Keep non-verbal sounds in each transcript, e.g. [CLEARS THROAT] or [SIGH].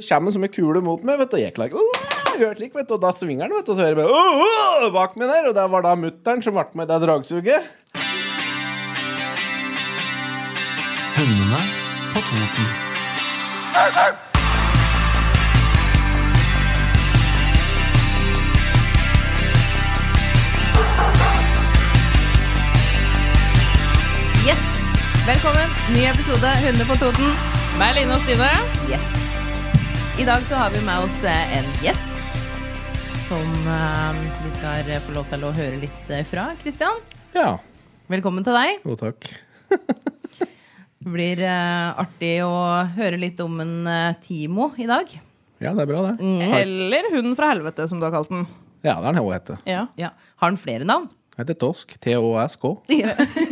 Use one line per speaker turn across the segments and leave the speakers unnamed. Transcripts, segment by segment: Det kommer som en kule mot meg, vet du. og Jeg klarer ikke Hørt slik, vet du, og da svinger den, vet du, og så hører jeg bare «Åh, åh», bak meg der. Og det var da mutter'n som ble med i det dragsuget.
Hønene på Toten.
Yes! Velkommen, ny episode Hunder på Toten.
Meg, Line og Stine.
Yes! I dag så har vi med oss eh, en gjest som eh, vi skal eh, få lov til å høre litt eh, fra. Kristian,
Ja.
velkommen til deg.
Jo, takk.
Det blir eh, artig å høre litt om en eh, Timo i dag.
Ja, det er bra,
Mm.
det.
Eller Hunden fra helvete, som du har kalt den.
Ja, det er den hun heter.
Ja.
Ja. Har han flere navn?
Heter Tosk. T-O-S-K.
[LAUGHS]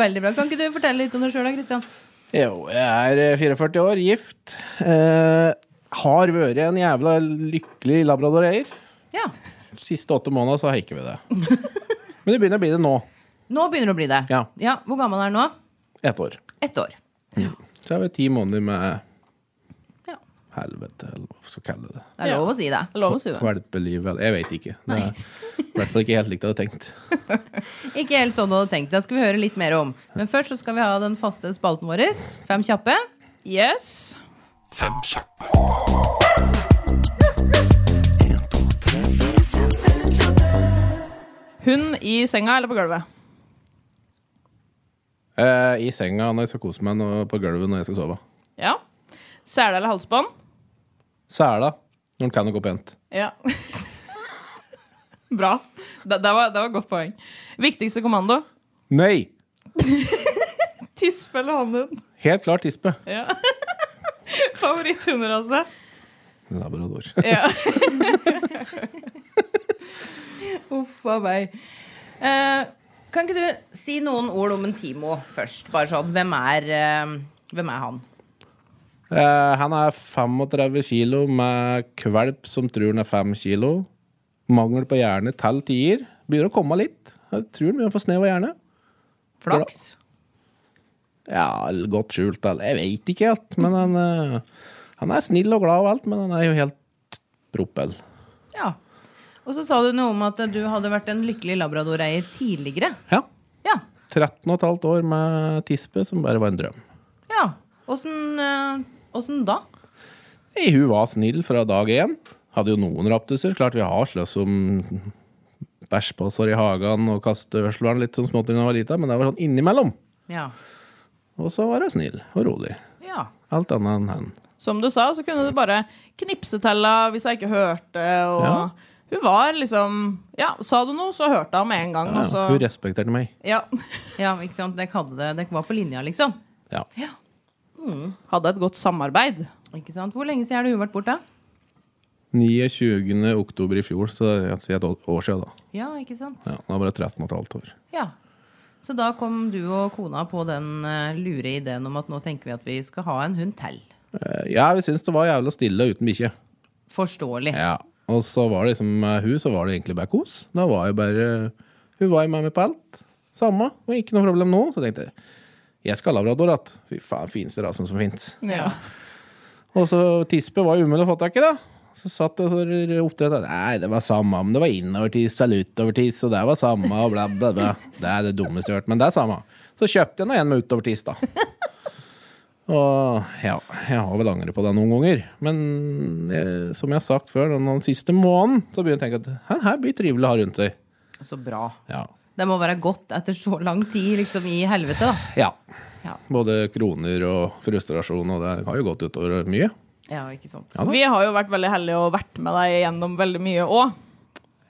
Veldig bra. Kan ikke du fortelle litt om deg sjøl da, Kristian?
Jo, jeg er 44 år, gift. Eh, har vært en jævla lykkelig labradoreier.
Ja.
Siste åtte måneder så har jeg ikke vi det. [LAUGHS] Men det begynner å bli det nå.
Nå begynner det å bli det.
Ja.
Hvor gammel er han nå?
Ett år.
Ett år.
Så er vi ti måneder med
Ja.
helvete, eller hva skal jeg kalle det.
Det er
Ja.
lov å si det.
Lov å si det.
Kvalpeliv, eller jeg vet ikke. Det er i hvert fall ikke helt likt jeg hadde tenkt.
Ikke helt sånn du hadde tenkt. Det skal vi høre litt mer om. Men først så skal vi ha den faste spalten vår. Fem kjappe.
Yes.
Fem kjappe.
Hund i senga eller på gulvet?
Eh, I senga når jeg skal kose meg, og på gulvet når jeg skal sove.
Ja. Sele eller halsbånd?
Sela, når den kan gå pent.
Ja. [LAUGHS] Bra. Det, det, var, det var et godt poeng. Viktigste kommando?
Nei!
Tispe eller hannhund?
Helt klart tispe.
Ja. Favoritthunder, altså.
Labrador.
Ja.
Uff a meg. Eh, kan ikke du si noen ord om en Timo først? Bare sånn, hvem er, eh, hvem er han?
[LAUGHS] Eh, han er 35 kilo med kvalp som tror han er 5 kilo. Mangel på hjerne til tier. Begynner å komme litt. Jeg tror han begynner å få snev av hjerne.
Flaks?
Ja, eller godt skjult, eller jeg veit ikke helt. Men han, eh, han er snill og glad og alt, men han er jo helt propell.
Ja. Og så sa du noe om at du hadde vært en lykkelig labradoreier tidligere.
Ja.
Ja.
13 15 år med tispe som bare var en drøm.
ja. Åssen eh, åssen da?
Nei, hun var snill fra dag én. Hadde jo noen raptuser. Klart vi har slåss om bæsjpåser i hagen og kastehørselvern litt sånn smått da hun var lita, men det var sånn innimellom.
Ja.
Og så var hun snill og rolig.
ja.
Alt annet enn han.
Som du sa, så kunne du bare knipse til henne hvis jeg ikke hørte. Og
Ja.
Hun var liksom Ja, sa du noe, så hørte hun med en gang.
Ja,
Og
Altså-
så,
hun respekterte meg.
ja.
Ja, [LAUGHS] ikke sant? Dere hadde det. Dere var på linja, liksom.
Ja.
Hadde et godt samarbeid.
Mm. Ikke sant? Hvor lenge siden har hun vært borte?
29. oktober i fjor, så jeg sier et år siden, da.
Ja, ikke sant?
Ja, Nå er det bare 13 15 år.
Ja. Så da kom du og kona på den eh, lure ideen om at nå tenker vi at vi skal ha en hund til.
Eh, Ja, vi syns det var jævla stille uten bikkje.
Forståelig.
Ja. Og så var det liksom med hun, så var det egentlig bare kos. Da var jeg bare Hun var jo med meg på alt. Samme. Det var ikke noe problem nå. Så tenkte jeg jeg skal ha labrador att. Fy faen, fineste rasen som fins.
Ja.
Og så tispe var jo umulig å få tak i, da. Så satt jeg og så oppdrett og Nei, det var samme om det var innovertiss eller utovertiss, og det var samme, og bla, bla, bla. Det er det dummeste jeg har hørt, men det er samme. Så kjøpte jeg nå en med utovertiss, da. Og ja, jeg har vel angret på det noen ganger. Men eh, som jeg har sagt før, den, den siste måneden så begynner jeg å tenke at hæ, her blir trivelig å ha rundt seg.
Så bra.
Ja.
Det må være godt etter så lang tid liksom, i helvete, da.
ja.
Ja.
Både kroner og frustrasjon, og det har jo gått utover mye.
Ja, ikke sant?
da.
Vi har jo vært veldig heldige og vært med deg gjennom veldig mye òg.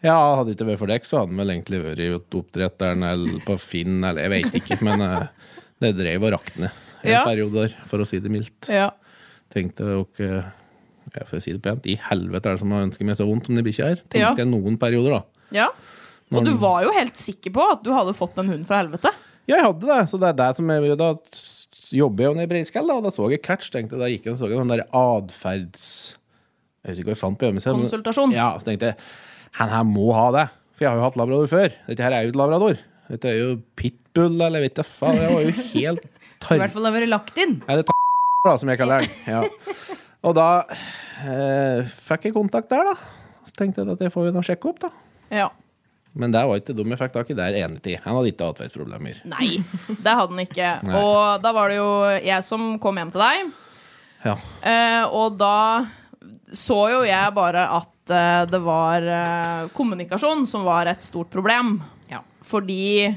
Ja, hadde det ikke vært for deg, så hadde han vel egentlig vært i oppdretteren eller på Finn, eller jeg vet ikke, men eh, det drev og rakk ned en
Ja.
periode der, for å si det mildt.
Ja.
Tenkte jo ikke ja, For å si det pent, i helvete er det som har ønsket meg så vondt som de bikkja her. Tenkte
Ja.
jeg noen perioder, da.
Ja.
Når
Og du
den-
var jo helt sikker på at du hadde fått en hund fra helvete.
Ja, jeg hadde det, så det er det som jeg, Da s- jobber jeg jo nede i Breiskall, da, og da så jeg catch. tenkte jeg, Da gikk jeg og så jeg sånn der atferds... Jeg husker ikke hva jeg fant på hjemmesida. men-
Konsultasjon.
Ja, så tenkte jeg han her må ha det. For jeg har jo hatt labrador før. Dette her er jo et labrador. Dette er jo pitbull, eller vet du faen. Jeg var jo
[LAUGHS]
helt
I
tar...
hvert fall har vært lagt inn.
Nei, det er ta- da, som jeg kaller den. Ja. Og da eh, fikk jeg kontakt der, da. Så tenkte jeg at det får vi nå sjekke opp, da.
Ja.
Men det var ikke dem jeg fikk tak i der enig til. Han hadde ikke atferdsproblemer.
Nei, det hadde den ikke.
Nei.
Og da var det jo jeg som kom hjem til deg.
Ja.
Eh, og da så jo jeg bare at eh, det var eh, kommunikasjon som var et stort problem.
Ja.
Fordi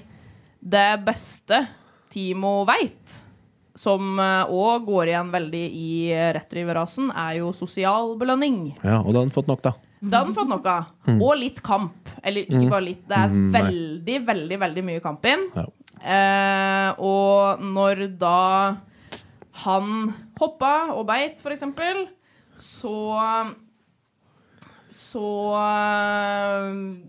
det beste Timo veit, som òg går igjen veldig i eh, retriever-rasen, er jo sosial belønning.
ja, og da hadde han fått nok, da.
Det hadde han fått nok av.
Mm.
Og litt kamp. Eller ikke bare litt. Det er veldig, veldig veldig mye kamp inn.
Ja.
Eh, og når da han hoppa og beit, for eksempel, så Så eh,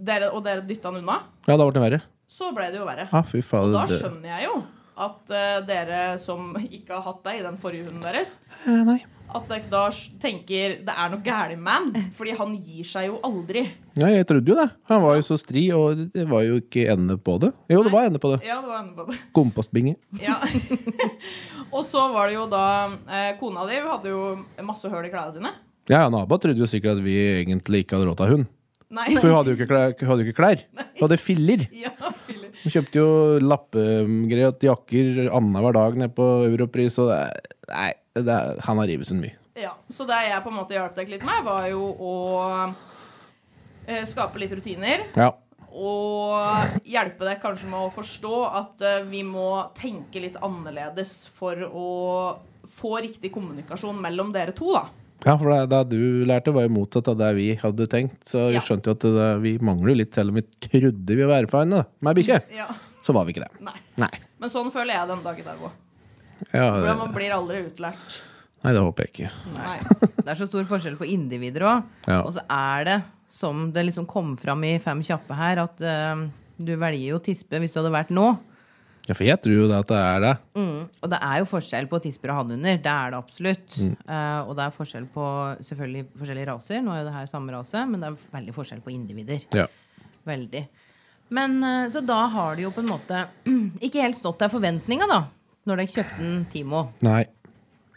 dere, Og dere dytta han unna,
Ja, da ble det verre.
så ble det jo verre.
Ja, Ah, fy faen,
Og da
det-
skjønner jeg jo at eh, dere som ikke har hatt deg i den forrige hunden deres,
Eh, Nei.
at dere da s- tenker det er noe gærent med han. Fordi han gir seg jo aldri.
Ja, jeg trodde jo det. Han var jo så stri, og det var jo ikke ende på det. Jo, det var ende på det.
Ja, det var ende på det.
Kompostbinge.
[LAUGHS] Ja. [LAUGHS] og så var det jo da eh, Kona di hadde jo masse høl i klærne sine.
Ja, naboen trodde jo sikkert at vi egentlig ikke hadde råd til å ha hund.
Nei.
For hun hadde jo ikke klær. Hun hadde, jo ikke klær. Hun hadde filler.
[LAUGHS] Ja, filler.
Hun kjøpte jo lappegreier til jakker annenhver dag nede på Europris, og det er, Nei, det er, han har revet seg mye.
ja. Så det jeg på en måte hjalp deg litt med, var jo å eh, skape litt rutiner.
Ja.
Og hjelpe deg kanskje med å forstå at eh, vi må tenke litt annerledes for å få riktig kommunikasjon mellom dere to, da.
ja, for det, det du lærte, var jo motsatt av det vi hadde tenkt. Så vi
Ja.
skjønte jo at det, vi mangler jo litt, selv om vi trodde vi var erfarne med bikkje.
Ja.
Så var vi ikke det.
Nei.
Nei.
Men sånn føler jeg den dag i dag òg.
Ja, det,
Man blir aldri utlært.
nei, det håper jeg ikke.
Nei.
Det er så stor forskjell på individer òg.
Ja.
Og så er det, som det liksom kom fram i Fem kjappe her, at eh, du velger jo tispe hvis du hadde vært nå.
Ja, for jeg tror jo det at det er det.
Mm. Og det er jo forskjell på tisper og hannhunder. Det er det absolutt. Eh, og det er forskjell på selvfølgelig forskjellige raser. Nå er jo det her samme rase, men det er veldig forskjell på individer.
Mm.
Ja.
Veldig. Men eh, Så da har det jo på en måte [CLEARS THROAT] ikke helt stått der forventninga, da. Når dere kjøpte den Timo.
Nei.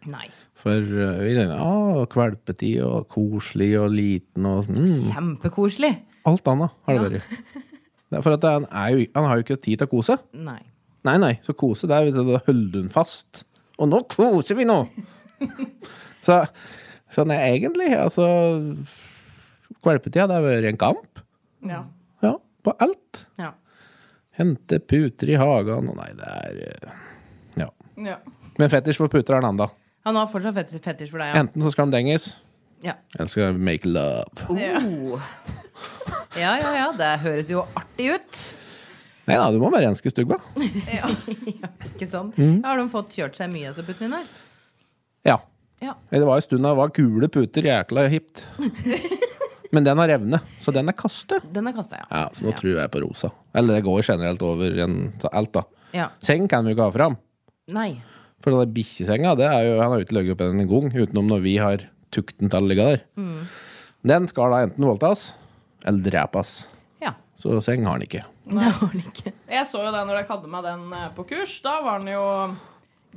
Nei.
For eh, vi tenker å, kvelpetid og koselig og liten og sånn. Mm.
Kjempekoselig.
Alt annet har det vært. Det er For at han, er jo, han har jo ikke tid til å kose.
Nei.
Nei, nei, så kose, det er jo da holder hun fast. Og nå koser vi nå! så sånn er egentlig, altså Kvelpetida, det har vært en kamp.
Ja.
Ja, på alt.
Ja.
Hente puter i hagen og Nei, det er eh, Ja.
Ja.
Men fetisj for puter er en annen, da.
Han har fortsatt fetisj, fetisj for deg,
Enten så skal de denges,
ja. ja.
eller så skal de make love.
Oh. Ja, ja, ja. Det høres jo artig ut.
Nei da, du må være renske stugg, da.
Ikke sant? Har de fått kjørt seg mye, altså, putten din der?
Ja.
Ja.
Det var en stund da det var gule puter, jækla hipt. Men den har revne, så den er kaste.
Den er kasta, ja.
Ja, så nå tror jeg på rosa. Eller det går generelt over en, så alt, da.
ja.
Seng kan vi jo ikke ha fram.
Nei.
For den der bikkjesenga, det er jo, han har jo ikke ligget oppi den en gang, utenom når vi har tukt den til å ligge der. Den skal da enten voldtas eller drepes.
Ja.
Så seng har han ikke.
Det har han ikke.
Jeg så jo det når jeg hadde med den eh, på kurs. Da var den jo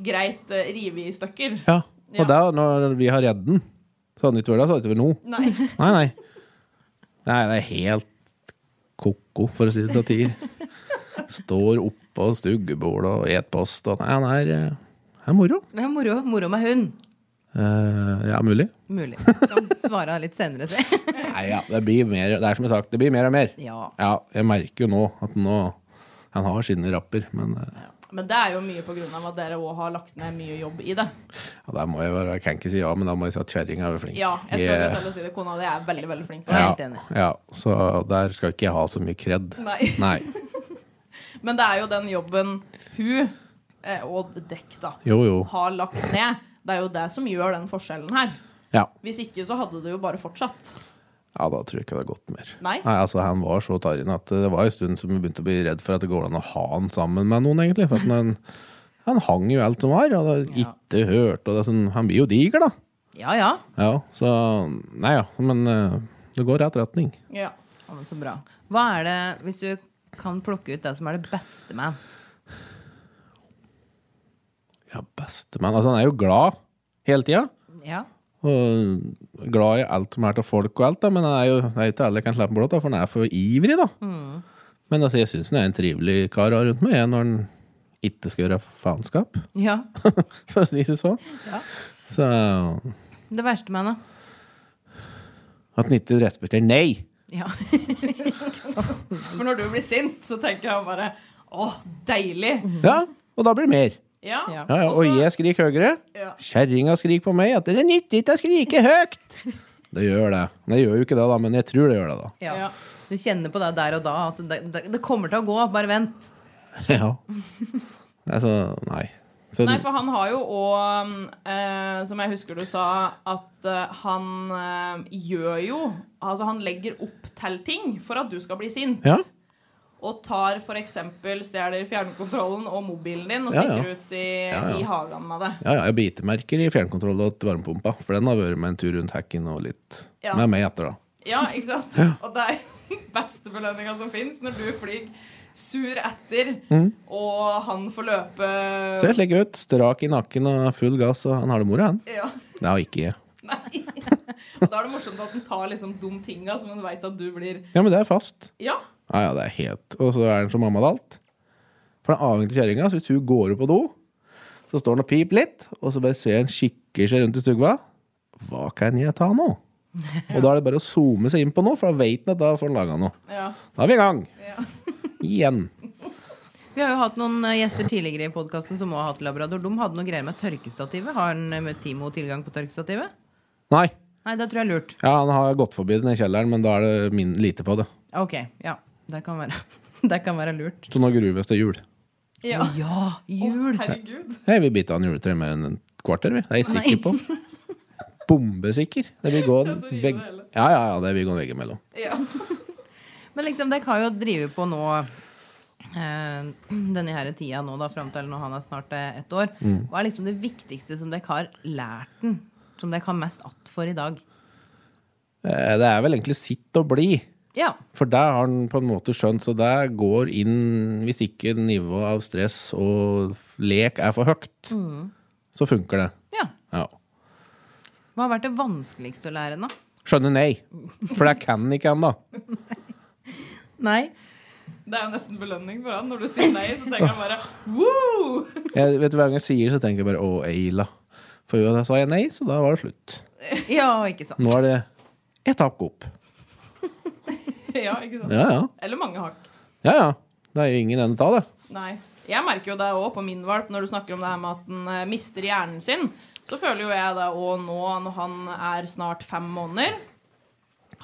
greit eh, revet i stykker.
Ja. Og
Ja.
da, når vi har redd den, så har den ikke vært der, så har den ikke vært noe.
Nei.
Nei, nei. Nei, det er helt koko, for å si det til tider. Står oppå stuggebordet og et post, og nei, han er, eh, han er moro.
Det er moro, moro med hund.
Eh, ja, mulig.
Mulig. Kan svare litt senere, se.
Nei, ja, det blir mer, det er som jeg har sagt, det blir mer og mer.
Ja.
jeg merker jo nå at nå, han har sine rapper, men eh,
Men det er jo mye på grunn av at dere òg har lagt ned mye jobb i det.
ja, der må jeg være, jeg kan ikke si ja, men da må jeg si at kjerringa er flink.
Ja, jeg skal
Jeg-
yeah. til å si det. Kona di er veldig, veldig flink.
er
ja,
helt enig.
ja, så der skal ikke jeg ha så mye kredd.
Nei.
[LAUGHS] Nei.
Men det er jo den jobben hun eh, og dekk da
Jo, jo.
har lagt ned. Det er jo det som gjør den forskjellen her.
Ja.
Hvis ikke så hadde det jo bare fortsatt.
ja, da tror jeg ikke det har gått mer.
Nei.
altså Han var så tarrende at eh, det var en stund som vi begynte å bli redd for at det går an å ha han sammen med noen, egentlig. For at han, han hang jo alt som var, og det
Ja.
ikke hørte, og det er sånn, han blir jo diger, da.
Ja ja.
Ja, så Nei ja, men eh, det går rett retning.
Ja.
Ja, men Så bra. Hva er det, hvis du kan plukke ut det som er det beste med han?
Ja, bestemann. Altså, han er jo glad hele tida.
Ja.
Og glad i alt som er til folk og alt, da, men han er jo det er ikke alle kan slappe blått, da, for han er for ivrig, da. Men altså, jeg syns han er en trivelig kar å ha rundt meg, jeg, når han ikke skal gjøre faenskap, [LAUGHS]
ja.
for å si det sånn.
Ja.
Så
Det verste med han, da?
at han ikke respekterer nei!
Ja.
For når du blir sint, så tenker han bare Å, deilig!
Ja, og da blir det mer.
Ja.
Mhm. Ja.
Ja, ja, og jeg skriker høyere.
Ja.
Kjerringa skriker på meg at det nytter ikke å skrike høyt! Det gjør det. Det gjør jo ikke det, da, men jeg tror det gjør det, da. [LAUGHS]
ja.
Ja.
Du kjenner på det der og da at det, det, det kommer til å gå, bare vent.
Ja. Altså, nei. Så,
Nei, for han har jo òg, eh, som jeg husker du sa, at eh, han eh, gjør jo Altså, han legger opp til ting for at du skal bli sint.
Ja.
Og tar f.eks. stjeler fjernkontrollen og mobilen din og
Ja,
stikker
ja.
ut i,
Ja, ja.
i hagen med det.
Ja, ja, jeg har bitemerker i fjernkontroll og til varmepumpa, for den har vært med en tur rundt hekken og litt
Ja.
med meg etter, da.
Ja, ikke sant? Og det er [LAUGHS] den beste belønninga som fins, når du flyr sur etter,
Mm.
og han får løpe
Ser helt lik ut. Strak i nakken og full gass, og han har det moro, han.
Ja.
Det har ikke jeg.
Nei. Og da er det morsomt at den tar liksom de tinga som den veit at du blir
Ja, men det er fast.
Ja.
Ja, ja, det er helt Og så er han som mamma til alt. For den er avhengig av kjerringa, så hvis hun går opp på do, så står han og piper litt, og så bare ser han kikker seg rundt i stugva. Hva kan jeg ta nå? Og da er det bare å zoome seg inn på noe, for da veit han at da får han laga noe.
ja.
Da er vi i gang.
Ja.
Igjen.
Vi har jo hatt noen eh, gjester tidligere i podkasten som også har hatt labrador. De hadde noe greier med tørkestativet. Har han eh, med Timo tilgang på tørkestativet?
Nei.
Nei, det tror jeg er lurt.
Ja, han har gått forbi den i kjelleren, men da er det min, lite på det.
Ok, ja. Det kan være, [LAUGHS] det kan være lurt.
Så nå gruves det jul.
ja.
Ja, jul!
Herregud.
Nei, vi biter av en juletre mer enn en kvarter, vi. Det er jeg sikker på. Bombesikker. Det vil gå en
[LAUGHS] Så du river
vegg...
det hele.
Ja, ja, ja, det vil gå en vegg imellom.
Ja.
Men liksom, dere har jo drevet på nå eh, denne her tida nå, da, fram til når han er snart eh, ett år.
Mm.
Hva er liksom det viktigste som dere har lært den? Som dere har mest att for i dag?
Eh, Det er vel egentlig sitt og bli.
Ja.
For det har han på en måte skjønt, så det går inn Hvis ikke nivået av stress og lek er for høyt, så funker det.
ja.
Ja.
Hva har vært det vanskeligste å lære den, da?
Skjønne nei. For det kan ikke ennå.
Nei.
Det er jo nesten belønning for han. Når du sier nei, så tenker han bare Woo! [LAUGHS]
Jeg- Vet du hver gang jeg sier, så tenker jeg bare 'Å, Eila'. For jo, da sa jeg nei, så da var det slutt.
Ja, ikke sant.
Nå er det ett hakk opp.
Ja, ikke sant?
Ja, ja.
Eller mange hakk.
ja, ja. Det er jo ingen ende av det.
Nei. Jeg merker jo det òg på min valp, når du snakker om det her med at den eh, mister hjernen sin. Så føler jo jeg det òg nå, når han er snart fem måneder.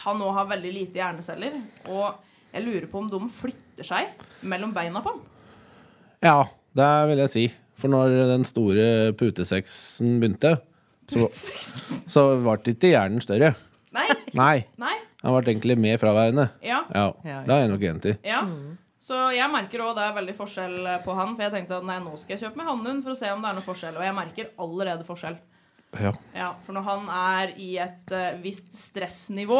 Han òg har veldig lite hjerneceller. Og jeg lurer på om de flytter seg mellom beina på han.
Ja, det vil jeg si. For når den store putesexen begynte, så, så ble ikke hjernen større.
Nei.
Nei,
Nei.
han ble egentlig mer fraværende.
Ja.
Ja,
Ja,
det er jeg nok enig i.
Ja. Så jeg merker òg det er veldig forskjell på han. For jeg tenkte at nei, nå skal jeg kjøpe meg hannhund for å se om det er noe forskjell. Og jeg merker allerede forskjell.
Ja.
Ja, for når han er i et eh, visst stressnivå,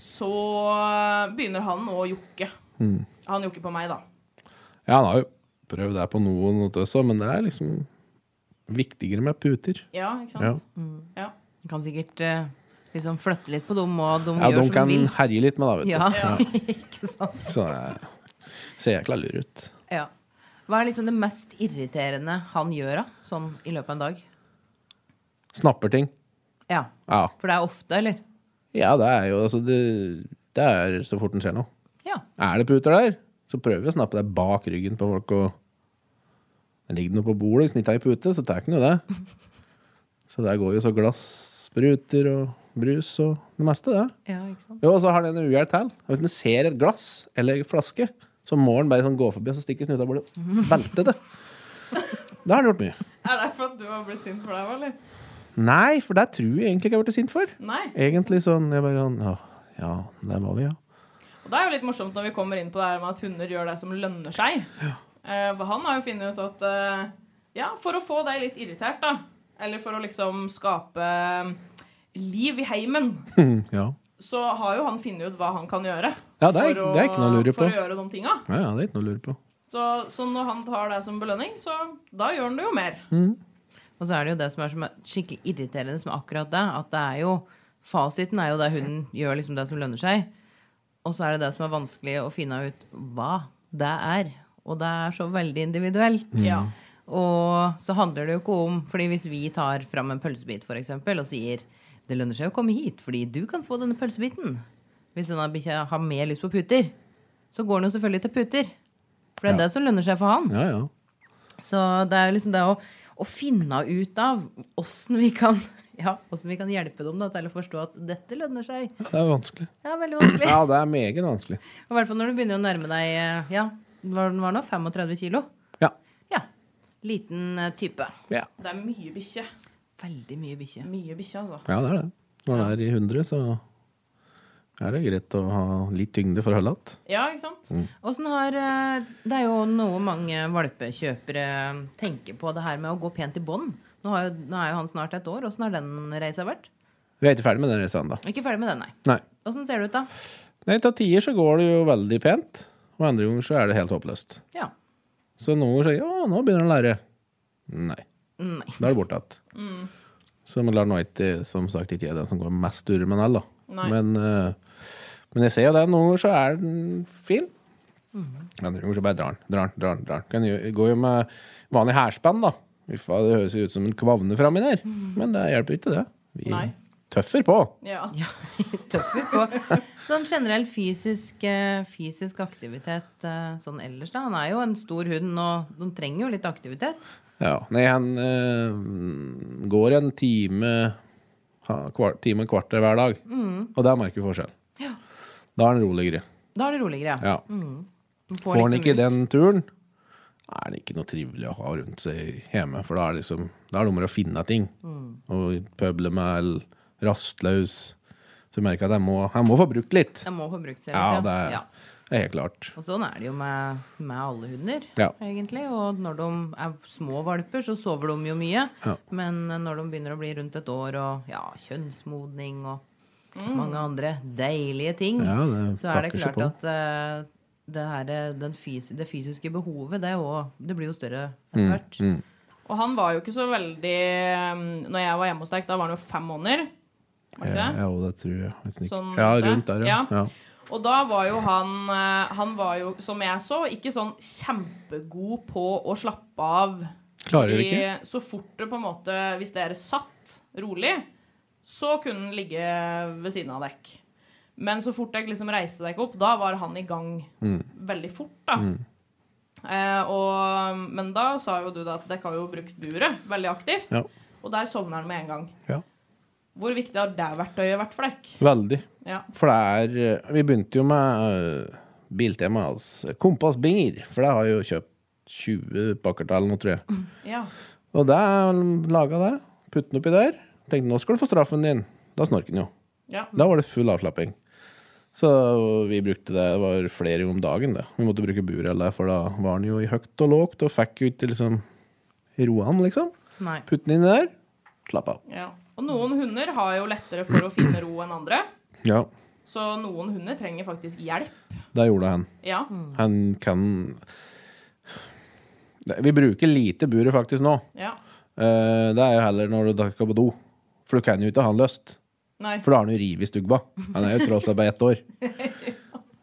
så eh, begynner han å jokke.
Mm.
Han jokker på meg, da.
ja, han har jo prøvd det på noen også, men det er liksom viktigere med puter.
Ja, ikke sant? Ja.
Du kan sikkert eh, liksom flytte litt på dem, og de
Ja,
gjør
de
som
kan
de vil.
herje litt med, da, vet du.
Ja, [LAUGHS] ikke sant.
Så det ser jækla lur ut.
Ja. Hva er liksom det mest irriterende han gjør, da? Sånn i løpet av en dag?
Snapper ting.
Ja.
Ja.
For det er ofte, eller?
Ja, det er jo altså Det, det er så fort den skjer noe.
Ja.
Er det puter der, så prøver vi å snappe deg bak ryggen på folk. og det Ligger det noe på bordet, snitta i pute, så tar den jo det. Så der går jo så glass, spruter og brus og det meste, det.
Ja, ikke sant?
Jo, og så har den en uhjelp til. Og Hvis den ser et glass eller en flaske, så må den bare sånn gå forbi og så stikke snuta i bordet. Velte det. Da har han gjort mye.
Er det for at du har blitt sint for deg, eller?
Nei, for det tror jeg egentlig ikke jeg har blitt sint for.
Nei.
Egentlig sånn jeg bare sånn «Åh, Ja, der var vi, ja. [LAUGHS]
Og det er jo litt morsomt når vi kommer inn på det her med at hunder gjør det som lønner seg. Eh, for han har jo funnet ut at eh, Ja, for å få deg litt irritert, da. Eller for å liksom skape eh, liv i heimen.
ja.
Så har jo han funnet ut hva han kan gjøre.
Ja, det er-
for å,
det er ikke noe å lure på.
For å gjøre de tinga.
Ja, ja, det er ikke noe å lure på.
Så, så når han tar det som belønning, så da gjør han det jo mer.
Og så er det jo det som er som er skikkelig irriterende som er akkurat det, at det er jo Fasiten er jo det hun gjør liksom det som lønner seg. Og så er det det som er vanskelig å finne ut hva det er. Og det er så veldig individuelt.
Ja.
Og så handler det jo ikke om Fordi hvis vi tar fram en pølsebit for eksempel, og sier det lønner seg å komme hit, fordi du kan få denne pølsebiten. Hvis denne bikkja har mer lyst på puter, så går den jo selvfølgelig til puter. For det er
Ja.
det som lønner seg for han.
Ja, ja.
Så det er liksom det å, å finne ut av åssen vi kan [LAUGHS] ja, hvordan vi kan hjelpe dem da, til å forstå at dette lønner seg.
Det er vanskelig.
Det er veldig vanskelig.
Ja, det er meget vanskelig.
Og I hvert fall når du begynner å nærme deg eh, ja, hva den var nå? 35 kilo?
Ja.
Ja. Liten eh, type.
Ja,
Det er mye bikkje.
Veldig mye bikkje.
Mye bikkje, altså.
ja det er det. Når det er i 100, så er det greit å ha litt tyngde for å holde igjen.
Ja, ikke sant?
Åssen har eh, Det er jo noe mange valpekjøpere tenker på, det her med å gå pent i bånd. Nå, har jo- nå er jo han snart et år. Åssen har den reisa vært?
Vi er ikke ferdig med den reisen ennå.
Ikke ferdig med den, nei.
Nei.
Åssen ser det ut, da?
Nei, til tider så går det jo veldig pent, og andre ganger så er det helt håpløst.
Ja.
Så noen ganger sier jeg, å, nå begynner han å lære. Nei,
Nei.
da er det borte igjen.
Mm.
Så man lar nå ikke, som sagt, ikke jeg den som går mest durre med all, da.
Nei.
Men, eh, men jeg ser jo det, noen ganger så er den fin.
Mm.
Andre ganger så bare drar den, drar den, drar den. drar den. Kan jo- Går jo med vanlig hærspenn, da. Uff, det høres jo ut som en kvavne framme der. Men det hjelper jo ikke, det. Vi
Mm. Nei.
tøffer på.
Ja.
Ja, [LAUGHS] tøffer på. Sånn generell fysisk, eh, fysisk aktivitet eh, sånn ellers, da. Han er jo en stor hund, og de trenger jo litt aktivitet.
Ja. Nei, han eh, går en time ha, kvar, Time og kvarter hver dag. Og der merker vi forskjell. Da er han roligere.
Da er det roligere.
Ja.
De
Får han
liksom
ikke
ut-
den turen, er det ikke noe trivelig å ha rundt seg hjemme. For da er det liksom Da er det om å gjøre å finne ting. Og pøble med eller rastløs. Så jeg merker at jeg må, jeg må få brukt litt.
Jeg må få brukt seg litt,
Ja, det er,
Ja.
det er helt klart.
Og sånn er det jo med, med alle hunder,
Ja.
egentlig. Og når de er små valper, så sover de jo mye.
Ja.
Men eh, når de begynner å bli rundt et år, og ja, kjønnsmodning og mange andre deilige ting,
Ja, det
så er det
takker seg
klart at
på.
eh, det, her, den fys det fysiske behovet, det, er jo, det blir jo større
Mm,
etter hvert.
Og han var jo ikke så veldig um, Når jeg var hjemme hos deg, da var han jo fem måneder. Var det
Ja,
ikke det?
ja, det tror jeg. Hvis ikke-
Sånn
ja,
rundt
rundt
der.
der, ja.
Ja.
ja.
Og da var jo han eh, Han var jo, som jeg så, ikke sånn kjempegod på å slappe av.
Klarer
Fordi
ikke.
Så fort det på en måte Hvis dere satt rolig, så kunne han ligge ved siden av dekk. Men så fort jeg liksom reiste deg opp, da var han i gang
Mm.
veldig fort, da. Eh, og, men da sa jo du da at dere har jo brukt buret veldig aktivt.
Ja.
Og der sovner han med en gang.
Ja.
Hvor viktig har det verktøyet vært for dere?
Veldig.
Ja.
For det er eh, Vi begynte jo med uh, Biltemaets kompassbinger, for det har jeg jo kjøpt 20 pakker til eller noe, tror jeg.
ja.
Og det laga det. Putte den oppi der. Tenkte nå skal du få straffen din. Da snorker den jo.
Ja.
Da var det full avslapping. Så vi brukte det, det var flere ganger om dagen, det. Vi måtte bruke burella, for da var den jo i høyt og lågt, og fikk jo ikke liksom roa den, liksom.
Nei.
Putte den inn der, slapp av.
ja. Og noen hunder har jo lettere for å finne ro enn andre.
Ja,
Så noen hunder trenger faktisk hjelp.
det gjorde han.
Ja.
Han kan Nei, Vi bruker lite buret faktisk nå.
ja.
Eh, Det er jo heller når du da skal på do. For du kan jo ikke ha han løst.
Nei.
For da har han jo revet stugva. Han er jo tross alt bare ett år.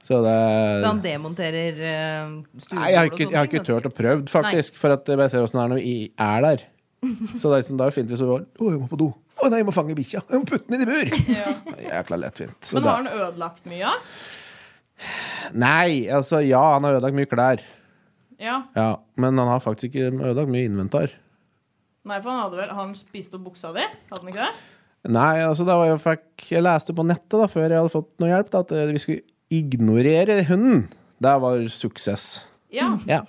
Så det
Så han demonterer uh,
Nei, jeg har ikke, jeg har ikke turt å prøve, faktisk. For at jeg bare ser åssen det er når vi er der. Så det er, liksom, det er jo fint hvis du bare Å, jeg må på do. Å nei, jeg må fange bikkja. Jeg må putte den inn i bur.
[LAUGHS]
Det er Jækla lettvint. Så
Men
det-
har han ødelagt mye?
Nei, altså ja, han har ødelagt mye klær.
Ja.
Ja, men han har faktisk ikke ødelagt mye inventar.
Nei, for han hadde vel Han spiste opp buksa di? Hadde han ikke det?
Nei, altså det var jo fikk, Jeg leste på nettet da, før jeg hadde fått noe hjelp, da, at eh, vi skulle ignorere hunden. Det var suksess.
Ja.
Ja.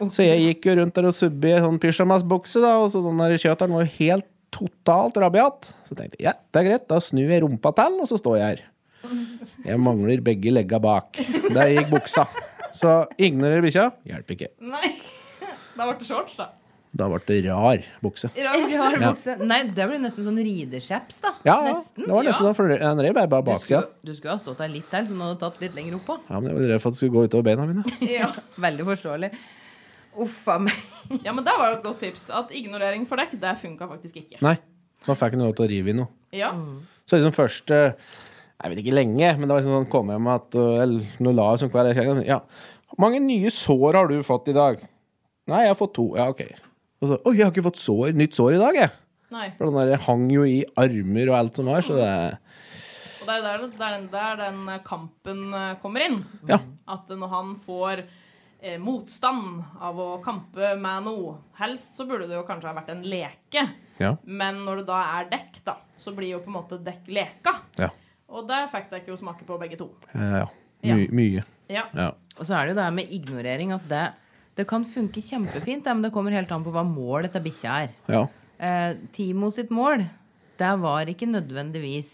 Så jeg gikk jo rundt der og subbe i en sånn pyjamasbukse, da, og så den der kjøteren var jo helt totalt rabiat. Så tenkte jeg ja, det er greit, da snur jeg rumpa til, og så står jeg her. Jeg mangler begge legga bak. Der gikk buksa. Så ignorer bikkja, hjelper ikke.
Nei. Da ble det shorts, da.
Da ble det rar bukse.
Rar bukse. [LAUGHS] Nei, det blir nesten sånn rideskjeps, da.
Ja, ja.
nesten.
det var nesten da, for den rev bare
Du
baksida.
skulle, du skulle ha stått der litt der, så den hadde tatt litt lenger
[LAUGHS]
oppå.
Ja, men jeg var redd for at det skulle gå utover beina mine.
Ja. [LAUGHS] Veldig forståelig. Uff a meg.
Ja, men det var jo et godt tips. At ignorering for dekk, det funka faktisk ikke.
Nei, så fikk jeg ikke lov til å rive i noe.
Ja.
Så liksom først eh, Jeg vet ikke lenge, men det var liksom sånn kom hjem at eh, eller, Nå la jeg sånn kveld jeg kjekket, Ja. Hvor mange nye sår har du fått i dag? Nei, jeg har fått to. Ja, OK. Og så Oi, jeg har ikke fått sår, nytt sår i dag, jeg.
Nei.
For den der hang jo i armer og alt som var, så det
Og det er jo der, det er den, der den kampen eh, kommer inn.
Ja.
At når han får eh, motstand av å kampe med noe helst, så burde det jo kanskje ha vært en leke.
Ja.
Men når det da er dekk, da, så blir jo på en måte dekk leka.
Ja.
Og der fikk dere jo smake på begge to.
Eh, ja.
Ja.
My, mye.
Ja.
Ja.
Og så er det jo det her med ignorering at det, det kan funke kjempefint, det, men det kommer helt an på hva målet til bikkja er.
ja.
Eh, Timo sitt mål, det var ikke nødvendigvis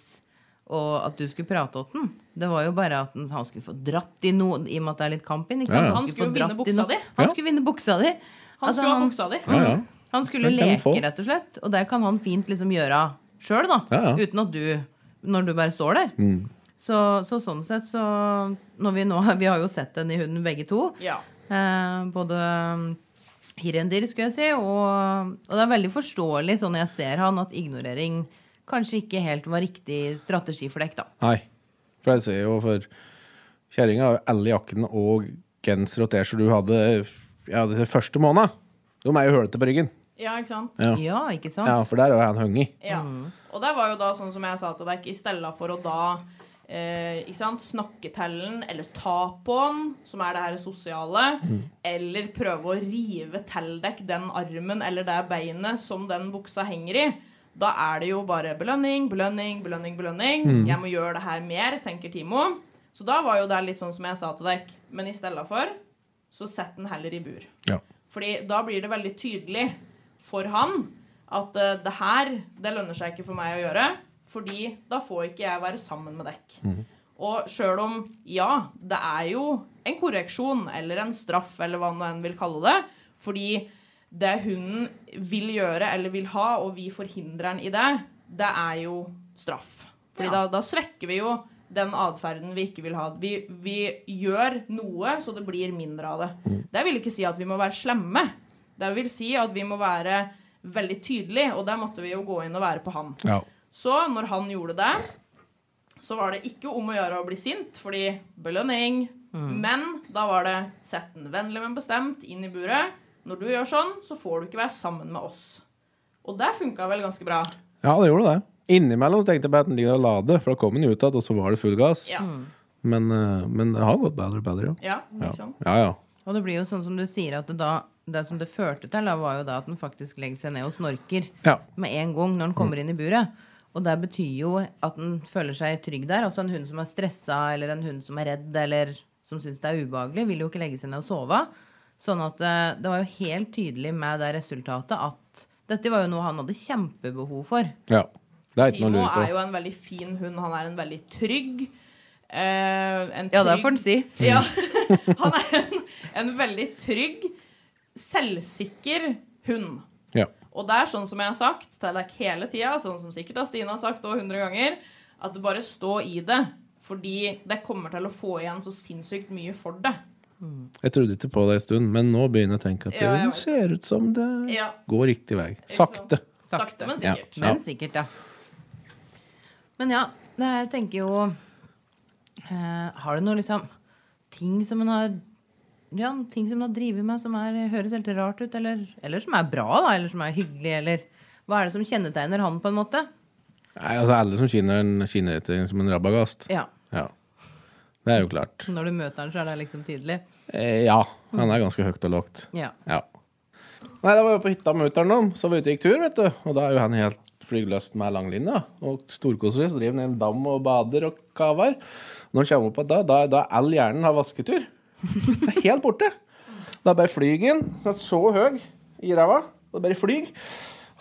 å- at du skulle prate åt den. Det var jo bare at den- han skulle få dratt i noe, i og med at det er litt kamp inn. Ikke sant?
Ja, ja.
Han skulle
få
vinne
dratt i
buksa
noe.
di.
Han
Ja.
skulle vinne buksa di.
Han
Altså,
skulle ha buksa di.
Ja, ja.
han skulle
Den kan han
leke,
få.
rett og slett. Og det kan han fint liksom gjøre sjøl, da.
Ja, Mm. ja.
Uten at du Når du bare står der. Så, så sånn sett så når vi, nå, [LAUGHS] vi har jo sett den i hunden begge to.
Ja.
Eh, både um, hirendir, skulle jeg si, og, og det er veldig forståelig sånn jeg ser han, at ignorering kanskje ikke helt var riktig strategi for dekk, da.
Nei. For jeg ser jo for Kjerringa har jo alle jakkene og genser og T-skjorter du hadde ja, det første måned. De er jo hølete på ryggen.
Ja, ikke sant?
Ja.
Ja, ikke sant?
Ja, for der har jo han hengt.
Ja. Og det var jo da sånn som jeg sa til deg, i stedet for å da eh, ikke sant, snakke til den, eller ta på den, som er det her sosiale,
Mm.
eller prøve å rive til deg den armen eller det beinet som den buksa henger i. Da er det jo bare belønning, belønning, belønning, belønning.
Mm.
Jeg må gjøre det her mer, tenker Timo. Så da var jo det litt sånn som jeg sa til deg, men i stedet for, så sett den heller i bur.
Ja.
Fordi da blir det veldig tydelig for han at eh, det her, det lønner seg ikke for meg å gjøre, fordi da får ikke jeg være sammen med dekk. Og sjøl om, ja, det er jo en korreksjon eller en straff eller hva nå enn vil kalle det, fordi det hunden vil gjøre eller vil ha, og vi forhindrer den i det, det er jo straff. Fordi da, da svekker vi jo den atferden vi ikke vil ha. Vi, vi gjør noe så det blir mindre av det. Det vil ikke si at vi må være slemme. Det vil si at vi må være veldig tydelige, og der måtte vi jo gå inn og være på han.
Ja.
Så når han gjorde det, så var det ikke om å gjøre å bli sint, fordi belønning.
Mm.
Men da var det sett den vennlig, men bestemt inn i buret. Når du gjør sånn, så får du ikke være sammen med oss. Og det funka vel ganske bra.
det gjorde det. Innimellom så tenkte jeg på at den ligger og lader, for da kom den ut igjen, og så var det full gass.
Ja.
Mm.
Men, eh, men det har gått bedre og bedre, ja.
Ja, ikke
Ja,
sant?
ja. ja.
Og det blir jo sånn som du sier, at det, da, det som det førte til, da, var jo da at den faktisk legger seg ned og snorker
Ja.
med en gang når den kommer inn i buret. Og det betyr jo at den føler seg trygg der. Altså en hund som er stressa, eller en hund som er redd, eller som syns det er ubehagelig, vil jo ikke legge seg ned og sove. Sånn at eh, det var jo helt tydelig med det resultatet at dette var jo noe han hadde kjempebehov for.
Det er ikke noe å
Timo
lure
er
på.
jo en veldig fin hund. Han er en veldig trygg. Eh, en
Ja, det
trygg-
får han si.
[LAUGHS] Ja. Han er en, en veldig trygg, selvsikker hund.
Ja.
Og det er sånn som jeg har sagt til deg hele tida, sånn som sikkert da Stine har sagt òg 100 ganger, at du bare stå i det. Fordi det kommer til å få igjen så sinnssykt mye for det.
Jeg trodde ikke på det en stund, men nå begynner jeg å tenke at
Ja, jeg
det ser ut som det
Ja.
går riktig vei. Sakte.
Sakte, men
Ja.
sikkert.
Men sikkert, ja. Men ja, det, jeg tenker jo eh, Har du noe liksom ting som en har ja, ting som en har drevet med som er, høres helt rart ut, eller, eller som er bra, da, eller som er hyggelig, eller Hva er det som kjennetegner han, på en måte?
Nei, altså alle som skinner, en- skinner etter som en rabagast.
Ja.
Ja. Det er jo klart.
Når du møter han, så er det liksom tydelig.
Eh, ja. Han er ganske høyt og lågt.
Ja.
Ja. Nei, da var vi på hytta med mutter'n nå, så var vi ute og gikk tur, vet du. Og da er jo han helt flygeløst med langlinja. Og storkoser seg, så driver han i en dam og bader og kaver. Når han kommer opp igjen da, da, da er all hjernen har vasketur. Det er helt borte. Da bare flyger den. Så er den så høy i ræva. Og bare flyg.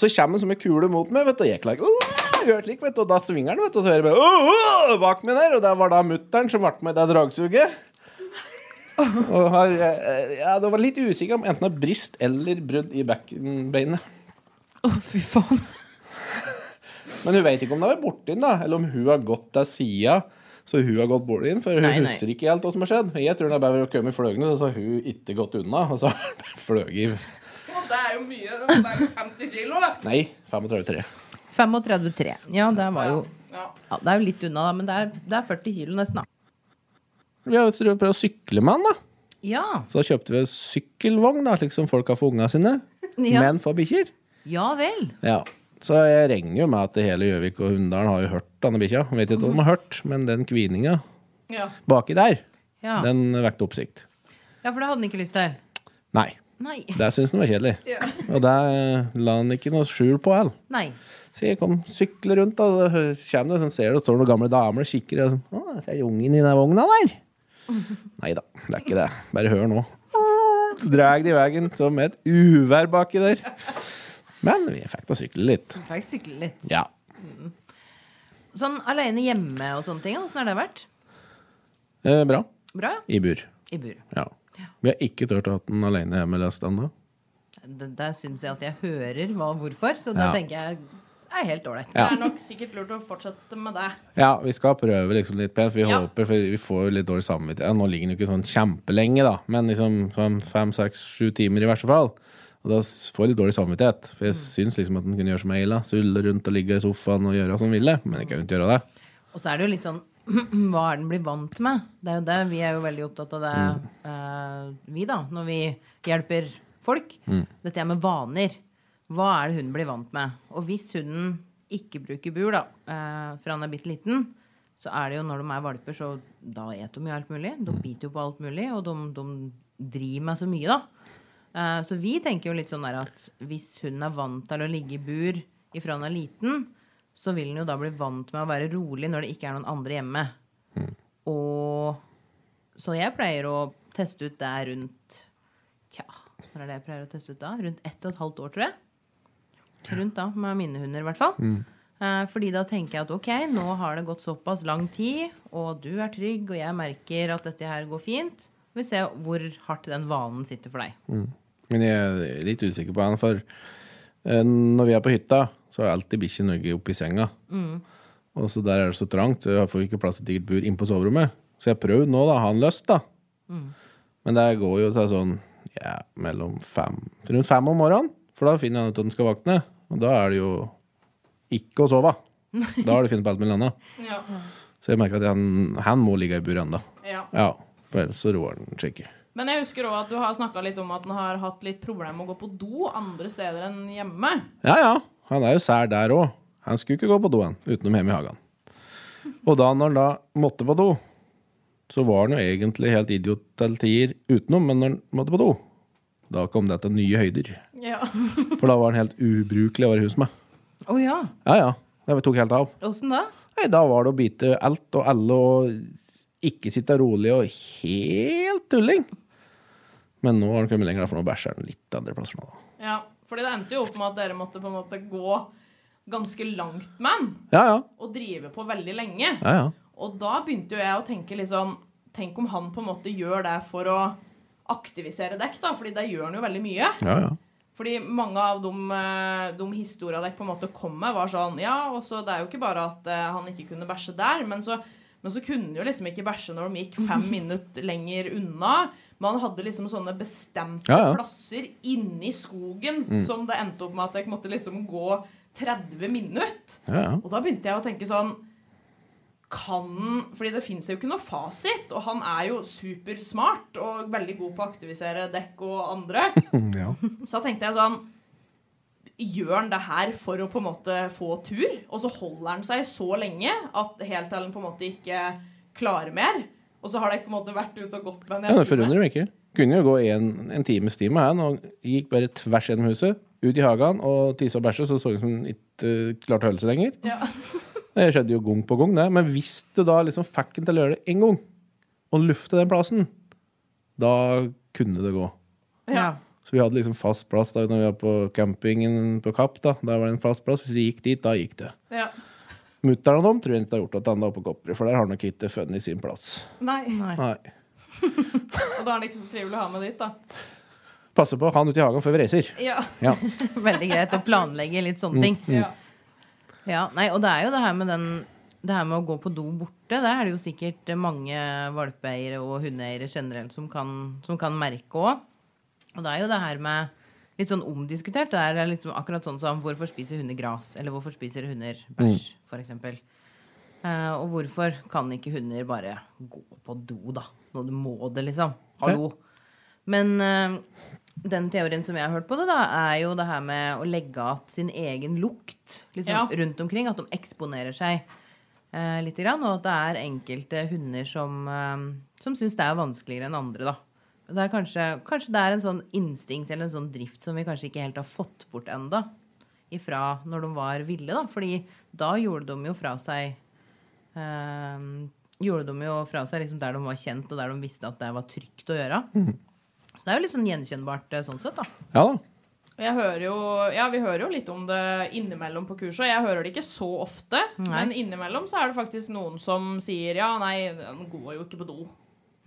Så kommer den som en kule mot meg, vet du, og jeg klarer ikke Gjør slik, vet du, og da svinger den, vet du, og så hører jeg bare «Åh, åh», bak meg der. Og det var da mutter'n som ble med i det dragsuget. Og har eh, Ja, det var litt usikker om enten det er brist eller brudd i bekkenbeinet.
fy faen. [LAUGHS]
Men hun vet ikke om det har vært borti den, da, eller om hun har gått til sida. Så hun har gått borti den, for hun
Nei, nei.
husker ikke helt hva som har skjedd. Jeg tror hun har bare kommet fløyende, så har hun ikke gått unna. Og så har hun bare fløyet i
Og det er jo mye. Det er jo 50 kilo.
Nei, 35-3.
35,3. Ja, det var jo
Ja.
ja, Det er jo litt unna, da, men det er, det er 40 kilo nesten, da.
Vi har jo prøvd å sykle med den, da.
Ja.
Så da kjøpte vi sykkelvogn, da, slik som folk har for unga sine.
Ja.
Men for bikkjer.
ja vel.
Ja. Så jeg regner jo med at det hele Gjøvik og Hunndalen har jo hørt denne bikkja. Jeg Vet ikke om de har hørt, men den kvininga
Ja.
baki der,
Ja.
den vekte oppsikt.
ja, for det hadde han ikke lyst til.
Nei.
Nei.
Det syns den var kjedelig.
Ja.
Og det la han ikke noe skjul på heller.
Nei.
Så jeg kom sykler rundt, da, og så kommer det, så ser du, står noen gamle damer og kikker. Og sånn, «Å, ser du ungen i den vogna der? Nei da, det er ikke det. Bare hør nå. Så drar de i veien som et uvær baki der. Men vi fikk da sykle litt.
Fikk sykle litt.
Ja.
Sånn aleine hjemme og sånne ting, åssen har det vært?
Eh, bra.
Bra?
I bur.
I bur.
Ja. Vi har ikke turt å ha den alene hjemme lest ennå.
D- Der syns jeg at jeg hører hva og hvorfor, så da
Ja.
tenker jeg er helt ålreit.
Det
Ja.
er nok sikkert lurt å fortsette med det.
Ja, vi skal prøve liksom litt pent, for vi
Ja.
håper For vi får jo litt dårlig samvittighet. Ja, Nå ligger den jo ikke sånn kjempelenge, da, men liksom fem, fem seks, sju timer i verste fall. Og da s- får jeg litt dårlig samvittighet, for jeg syns liksom at den kunne gjøre som jeg ville. Sulle rundt og ligge i sofaen og gjøre som den ville, men jeg kan jo ikke gjøre det.
Og så er det jo litt sånn [CLEARS THROAT] hva er den blir vant med? Det er jo det. Vi er jo veldig opptatt av det,
Mm.
eh, vi, da, når vi hjelper folk.
Mm.
Dette her med vaner. Hva er det hunden blir vant med? Og hvis hunden ikke bruker bur, da, eh, for han er bitte liten, så er det jo når de er valper, så da eter de jo alt mulig. De biter jo på alt mulig, og de, de driver med så mye, da. Eh, Så vi tenker jo litt sånn der at hvis hunden er vant til å ligge i bur ifra han er liten, så vil den jo da bli vant med å være rolig når det ikke er noen andre hjemme. Og Så jeg pleier å teste ut det rundt Tja, når er det jeg pleier å teste ut da? Rundt ett og et halvt år, tror jeg. Rundt da, med mine hunder i hvert fall. Eh, Fordi da tenker jeg at ok, nå har det gått såpass lang tid, og du er trygg, og jeg merker at dette her går fint. Vi ser hvor hardt den vanen sitter for deg.
Men jeg er litt usikker på han, for eh, når vi er på hytta, så er alltid bikkja nøye oppi senga. Og så der er det så trangt, så jeg får ikke plass til et digert bur inne på soverommet. Så jeg har prøvd nå, da. Har han lyst, da? Men det går jo til sånn ja, mellom fem Rundt fem om morgenen, for da finner han ut at han skal våkne. Og da er det jo ikke å sove. Da har du funnet på alt mulig annet.
Ja.
Så jeg merker at han, han må ligge i bur ennå.
Ja.
Ja, for ellers så roer han seg ikke.
Men jeg husker også at du har snakka litt om at den har hatt litt problemer med å gå på do andre steder enn hjemme.
Ja, ja. Han er jo sær der òg. Han skulle ikke gå på do, han, utenom hjemme i hagen. Og da når han da måtte på do, så var han jo egentlig helt idiot til tider utenom, men når han måtte på do, da kom det til nye høyder.
Ja.
For da var han helt ubrukelig å være i hus med.
Å ja.
Ja, ja. Det tok helt av.
Åssen da?
Nei, da var det å bite alt og alle og ikke sitte rolig og helt tulling. Men nå har han kommet lenger, da, for nå bæsjer han litt andre plasser nå. da.
ja. Fordi det endte jo opp med at dere måtte på en måte gå ganske langt med den,
Ja, ja.
og drive på veldig lenge.
ja, ja.
Og da begynte jo jeg å tenke litt sånn Tenk om han på en måte gjør det for å aktivisere dekk, da, fordi det gjør han jo veldig mye.
ja, ja.
Fordi mange av de, eh, de historiene dere på en måte kom med, var sånn Ja, og så det er jo ikke bare at eh, han ikke kunne bæsje der, men så, men så kunne han jo liksom ikke bæsje når de gikk
[LAUGHS]
fem minutter lenger unna. Man hadde liksom sånne bestemte
Ja, Mm. ja.
plasser inni skogen som det endte opp med at dere måtte liksom gå 30 minutter.
ja, ja.
Og da begynte jeg å tenke sånn kan, fordi det finnes jo ikke noe fasit, og han er jo supersmart og veldig god på å aktivisere dekk og andre.
[LAUGHS] ja.
Så da tenkte jeg sånn Gjør han det her for å på en måte få tur? Og så holder han seg så lenge at helt til han på en måte ikke klarer mer? Og så har det ikke på en måte vært ute og gått med
Ja,
en hel
det
time.
forundrer meg ikke. Kunne jo gå en, en times time her, og gikk bare tvers gjennom huset, ut i hagen og tisse og bæsje, så så det ut som hun ikke eh, klarte å holde seg lenger.
Ja.
[LAUGHS] Det skjedde jo gang på gang, det. Men hvis du da liksom fikk den til å gjøre det én gang, og lufte den plassen, da kunne det gå.
Ja.
Så vi hadde liksom fast plass da når vi var på campingen på Kapp. da Der var det en fast plass. Hvis vi gikk dit, da gikk det.
Ja.
Mutter'n og dem tror jeg ikke har gjort at han er oppe på Kopperud, for der har han nok ikke funnet sin plass.
Nei.
Nei.
Og da er det ikke så trivelig å ha med dit, da.
Passe på han ute i hagen før vi reiser.
Ja.
Ja.
[LAUGHS] Veldig greit å planlegge litt sånne ting.
Mm.
Ja.
Ja, nei, og det er jo det her med den det her med å gå på do borte, det er det jo sikkert mange valpeeiere og hundeeiere generelt som kan, som kan merke òg. Og det er jo det her med litt sånn omdiskutert. Det er liksom akkurat sånn som hvorfor spiser hunder gras? Eller hvorfor spiser hunder bæsj, f.eks.? Eh, og hvorfor kan ikke hunder bare gå på do, da? Når du må det, liksom. Hallo. Men eh, den teorien som jeg har hørt på det, da, er jo det her med å legge igjen sin egen lukt liksom,
Ja.
rundt omkring. At de eksponerer seg eh, litt. Grann, og at det er enkelte hunder som, eh, som syns det er vanskeligere enn andre. da. Det er kanskje, kanskje det er en sånn instinkt eller en sånn drift som vi kanskje ikke helt har fått bort enda ifra når de var ville. da. Fordi da gjorde de jo fra seg eh, Gjorde de jo fra seg liksom der de var kjent, og der de visste at det var trygt å gjøre.
Mhm.
Så det er jo litt sånn gjenkjennbart eh, sånn sett, da.
Ja da.
Jeg hører jo, ja, vi hører jo litt om det innimellom på kurset. Jeg hører det ikke så ofte,
Nei.
men innimellom så er det faktisk noen som sier ja, nei, den går jo ikke på do.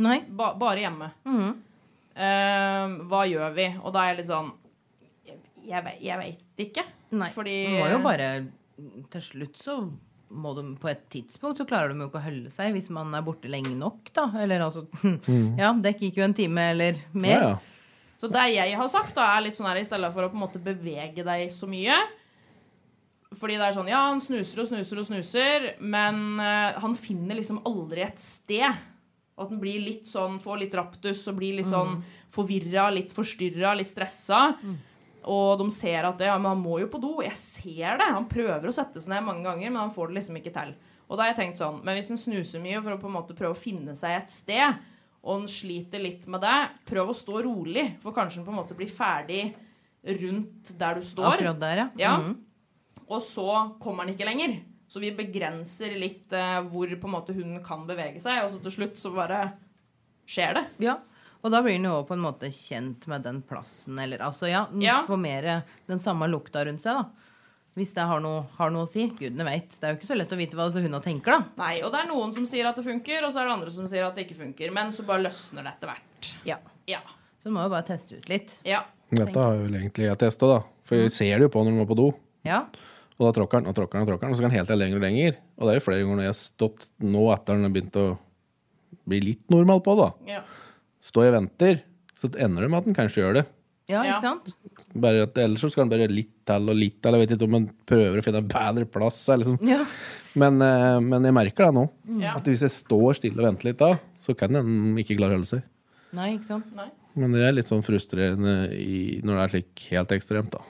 Nei.
Ba bare hjemme. Eh, hva gjør vi? Og da er jeg litt sånn Jeg, ve- jeg veit ikke.
Nei.
Fordi
De må jo bare Til slutt så må de på et tidspunkt så klarer de jo ikke å holde seg hvis man er borte lenge nok, da. Eller altså [LAUGHS] Ja, dekk gikk jo en time eller mer.
Mhm. Ja, ja.
Så det jeg har sagt, da, er litt sånn her i stedet for å på en måte bevege deg så mye Fordi det er sånn, ja, han snuser og snuser og snuser, men eh, han finner liksom aldri et sted. Og at han blir litt sånn, får litt raptus og blir litt sånn forvirra, litt forstyrra, litt stressa. Og de ser at ja, men han må jo på do. Jeg ser det. Han prøver å sette seg ned mange ganger, men han får det liksom ikke til. Og da har jeg tenkt sånn, men hvis han snuser mye for å på en måte prøve å finne seg et sted, og han sliter litt med det, prøv å stå rolig, for kanskje han på en måte blir ferdig rundt der du står.
Akkurat der, ja.
Ja.
Mhm.
Og så kommer han ikke lenger. Så vi begrenser litt eh, hvor på en måte hunden kan bevege seg, og så til slutt så bare skjer det.
Ja, og da blir den jo på en måte kjent med den plassen, eller altså, ja, den
Ja.
får mer den samme lukta rundt seg, da. Hvis det har noe, har noe å si. Gudene veit. Det er jo ikke så lett å vite hva altså, hunda tenker, da.
Nei, og det er noen som sier at det funker, og så er det andre som sier at det ikke funker. Men så bare løsner det etter hvert.
Ja.
Ja.
Så den må jo bare teste ut litt.
Ja.
Dette har jo vel egentlig jeg testa, da. For vi ser det jo på når de går på do.
Ja.
Og da tråkker han og tråkker han, og tråkker han, og så kan han helt til lenger og lenger. Og det er jo flere ganger når jeg har stått nå etter han har begynt å bli litt normal på, da.
ja.
Står jeg og venter, så ender det med at han kanskje gjør det.
Ja,
Ja.
ikke sant?
Bare at Ellers så skal han bare litt til og litt til. Jeg vet ikke om han prøver å finne en bedre plass. Eller sånn.
Ja.
men, eh, men jeg merker det nå.
Ja.
At hvis jeg står stille og venter litt da, så kan han ikke klare å holde seg.
Nei, ikke sant?
Nei.
Men det er litt sånn frustrerende i, når det er slik helt ekstremt, da.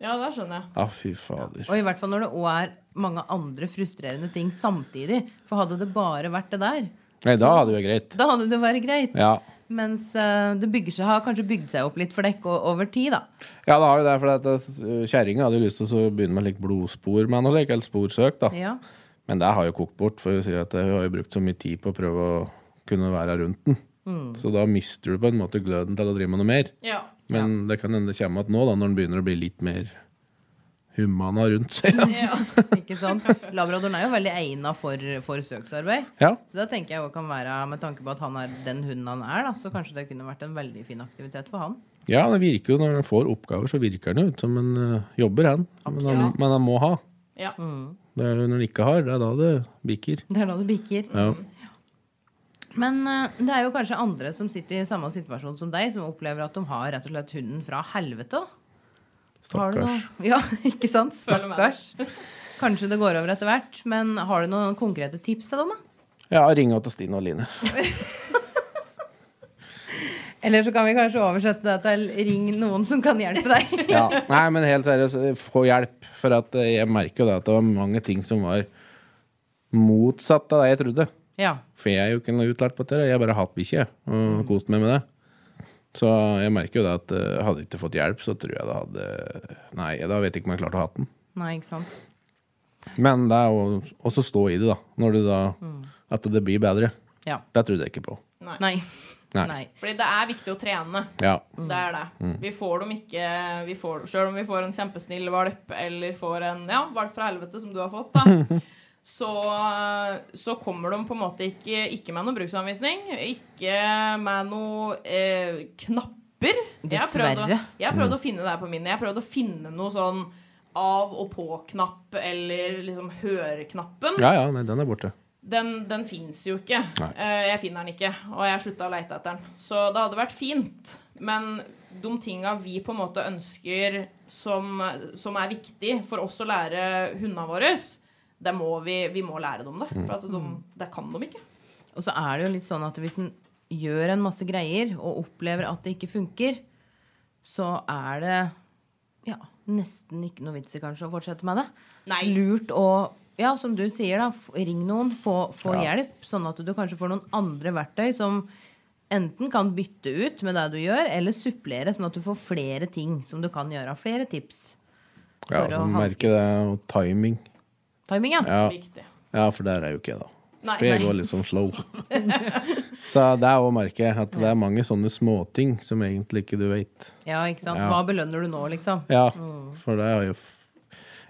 Ja, det skjønner jeg.
Ja, fy fader.
Og i hvert fall når det òg er mange andre frustrerende ting samtidig. For hadde det bare vært det der,
Nei, da hadde det jo greit.
da hadde det vært greit.
Ja.
Mens eh, det bygger seg, har kanskje bygd seg opp litt for dekk o- over tid, da.
Ja, det har jo det, for at det- kjerringa hadde jo lyst til å så begynne med litt blodspor med noe, eller sporsøk, da.
Ja.
Men det har jo kokt bort, for hun sier at eh, hun har jo brukt så mye tid på å prøve å kunne være rundt den.
Mm.
Så da mister du på en måte gløden til å drive med noe mer.
Ja.
Men det kan hende det kommer igjen nå, da, når den begynner å bli litt mer humana rundt seg. da.
[LAUGHS] ja.
Ikke
[LAUGHS]
sant? Labradoren er jo veldig egna for, for søksarbeid.
Ja.
Så da tenker jeg jo kan være, Med tanke på at han er den hunden han er, da, så kanskje det kunne vært en veldig fin aktivitet for han.
ja, det virker jo når den får oppgaver, så virker den jo ut som en øh, jobber, han. Men han, men han må ha.
ja.
Det er jo når den ikke har, det er da det bikker.
Det er da det bikker.
Ja.
Men eh, det er jo kanskje andre som sitter i samme situasjon som deg, som opplever at de har rett og slett hunden fra helvete. da. Har du
Stakkars.
noe- [LAUGHS] Ja, ikke sant?
Føler meg.
Stakkars. Kanskje det går over etter hvert, men har du noen konkrete tips til dem? da?
Ja, ring til Stine og Line.
Eller så kan vi kanskje oversette det til 'ring noen som kan hjelpe deg'.
[LAUGHS] Ja. Nei, men helt seriøst, få hjelp. For at eh, jeg merker jo det at det var mange ting som var motsatt av det jeg trodde.
[LAUGHS] Ja.
For jeg er jo ikke noe utlært på dette. Jeg har bare hatt bikkje
Mm.
og kost meg med det. Så jeg merker jo det at eh, hadde jeg ikke fått hjelp, så tror jeg det hadde Nei, da vet jeg ikke om jeg klarte å ha den.
Nei, ikke sant.
Men det er jo
Mm.
også stå i det, da. Når du da At det blir bedre.
Ja.
Det trodde jeg ikke på.
Nei.
Nei.
Nei.
Nei.
Fordi det er viktig å trene.
Ja.
Det er det. Vi får dem ikke vi får, Selv om vi får en kjempesnill valp, eller får en ja, valp fra helvete, som du har fått, da, så, så kommer de på en måte ikke, ikke med noe bruksanvisning. Ikke med noe eh, knapper. Jeg har prøvd å-
Dessverre.
Jeg har prøvd å finne det her på min. Jeg har prøvd å finne noe sånn av og på-knapp, eller liksom høreknappen
ja, ja, nei, den er borte.
den, den fins jo ikke.
Nei.
Eh, Jeg finner den ikke, og jeg slutta å leite etter den. Så det hadde vært fint. Men de tinga vi på en måte ønsker som, som er viktig for oss å lære hundene våre, det må vi, vi må lære dem det. For at de, det kan de ikke.
Og så er det jo litt sånn at hvis en gjør en masse greier og opplever at det ikke funker, så er det ja, nesten ikke noe vits i kanskje å fortsette med det.
Nei.
Lurt å ja, som du sier, da, f- ring noen, få, få hjelp, sånn at du kanskje får noen andre verktøy som enten kan bytte ut med det du gjør, eller supplere, sånn at du får flere ting som du kan gjøre. Flere tips.
Ja,
For å
så merke
hanskes.
det, og timing.
Timing, ja.
Ja.
Viktig.
ja, for der er jo ikke jeg, da.
Nei.
For jeg går litt sånn
[LAUGHS]
slow. Så det er òg merker jeg, at det er mange sånne småting som egentlig ikke du vet.
Ja, ikke sant?
Ja.
Hva belønner du nå, liksom?
Ja, for det er jo f-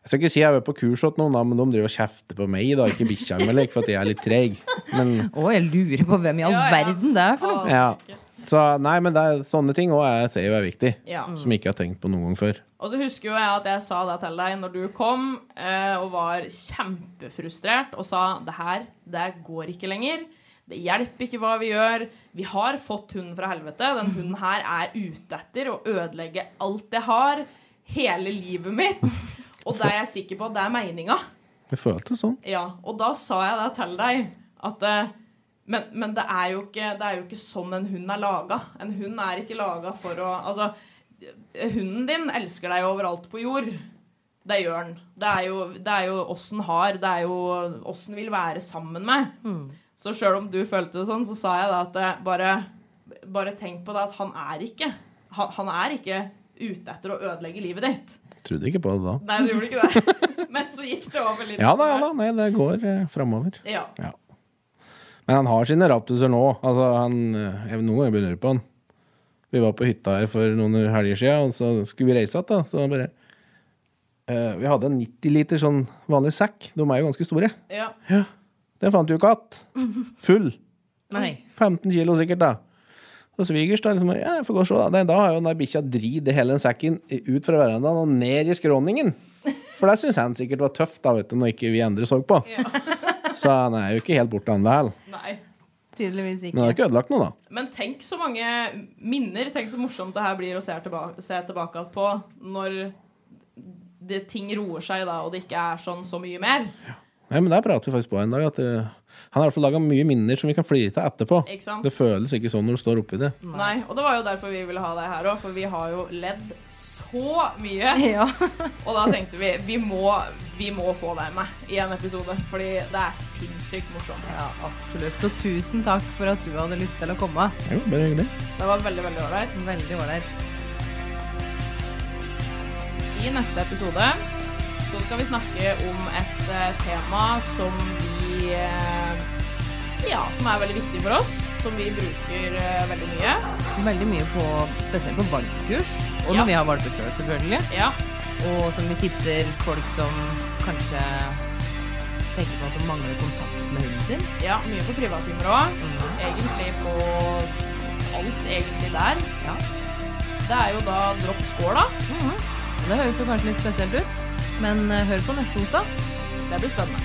Jeg skal ikke si jeg er på kurs hos noen, da, men de driver og kjefter på meg, da, ikke bikkja mi, like, for at jeg er litt treg. Men
Å, jeg lurer på hvem i all
Ja, ja.
verden det er for noe.
ja. Så nei, men det er sånne ting òg jeg ser jo er viktig,
Ja.
som jeg ikke har tenkt på noen gang før.
Og så husker jo jeg at jeg sa det til deg når du kom, eh, og var kjempefrustrert og sa det her, det går ikke lenger. Det hjelper ikke hva vi gjør. Vi har fått hunden fra helvete. Den hunden her er ute etter å ødelegge alt jeg har. Hele livet mitt. Og det er jeg sikker på, det er meninga.
Jeg følte sånn.
Ja, og da sa jeg det til deg at eh, men, men det, er jo ikke, det er jo ikke sånn en hund er laga. En hund er ikke laga for å Altså, hunden din elsker deg overalt på jord. Det gjør den. Det er jo- det er jo oss den har. Det er jo oss den vil være sammen med.
Hmm.
Så sjøl om du følte det sånn, så sa jeg det at eh, bare, bare tenk på det at han er ikke han, han er ikke ute etter å ødelegge livet ditt.
Trodde ikke på det da.
Nei, du gjorde ikke
[LAUGHS]
det. Men så gikk det over litt.
Ja da, ja da. Nei, det går eh, framover.
Ja.
Ja. Men han har sine raptuser nå. Altså, han, jeg, noen ganger begynner jeg på han. Vi var på hytta her for noen helger siden, og så skulle vi reise igjen. da. Så han bare eh, Vi hadde en 90 liter sånn vanlig sekk. De er jo ganske store.
ja.
Den fant vi jo ikke igjen. Full.
Nei.
15 kilo sikkert, da. Og svigers, da. Liksom, bare, ja, jeg får gå og se, da. Nei, da har jo den der bikkja dridd hele den sekken ut fra verandaen og ned i skråningen. For det syns han sikkert var tøft, da, vet du, når ikke vi andre så på.
[LAUGHS]
Så han er jo ikke helt borte, han der.
Nei.
Tydeligvis
Men han
ikke.
har ikke ødelagt noe, da.
Men tenk så mange minner. Tenk så morsomt det her blir å se tilbake, se tilbake på når det, ting roer seg, da, og det ikke er sånn så mye mer.
Nei, men Der prater vi faktisk på en dag. At eh, han har i hvert fall laga mye minner som vi kan flire av etterpå.
Ikke sant?
Det føles ikke sånn når du står oppi det.
Nei. Og det var jo derfor vi ville ha deg her òg, for vi har jo ledd så [LAUGHS] mye.
Ja.
Og da tenkte vi vi må, vi må få deg med i en episode, fordi det er sinnssykt morsomt.
ja, absolutt. Så tusen takk for at du hadde lyst til å komme.
Jo, bare hyggelig.
Det var veldig, veldig ålreit.
Veldig ålreit.
I neste episode så skal vi snakke om et eh, tema som vi eh, Ja, som er veldig viktig for oss. Som vi bruker eh, veldig mye.
Veldig mye på Spesielt på valpekurs. Og når
Ja.
vi har valper sjøl, selvfølgelig.
Ja.
Og som vi tipser folk som kanskje tenker på at de mangler kontakt med hunden sin.
ja mye på privattimer òg. Egentlig på alt egentlig der.
Ja.
Det er jo da dropp skåla.
Mhm. Og Det høres jo kanskje litt spesielt ut, men eh, hør på neste onsdag.
Det blir spennende.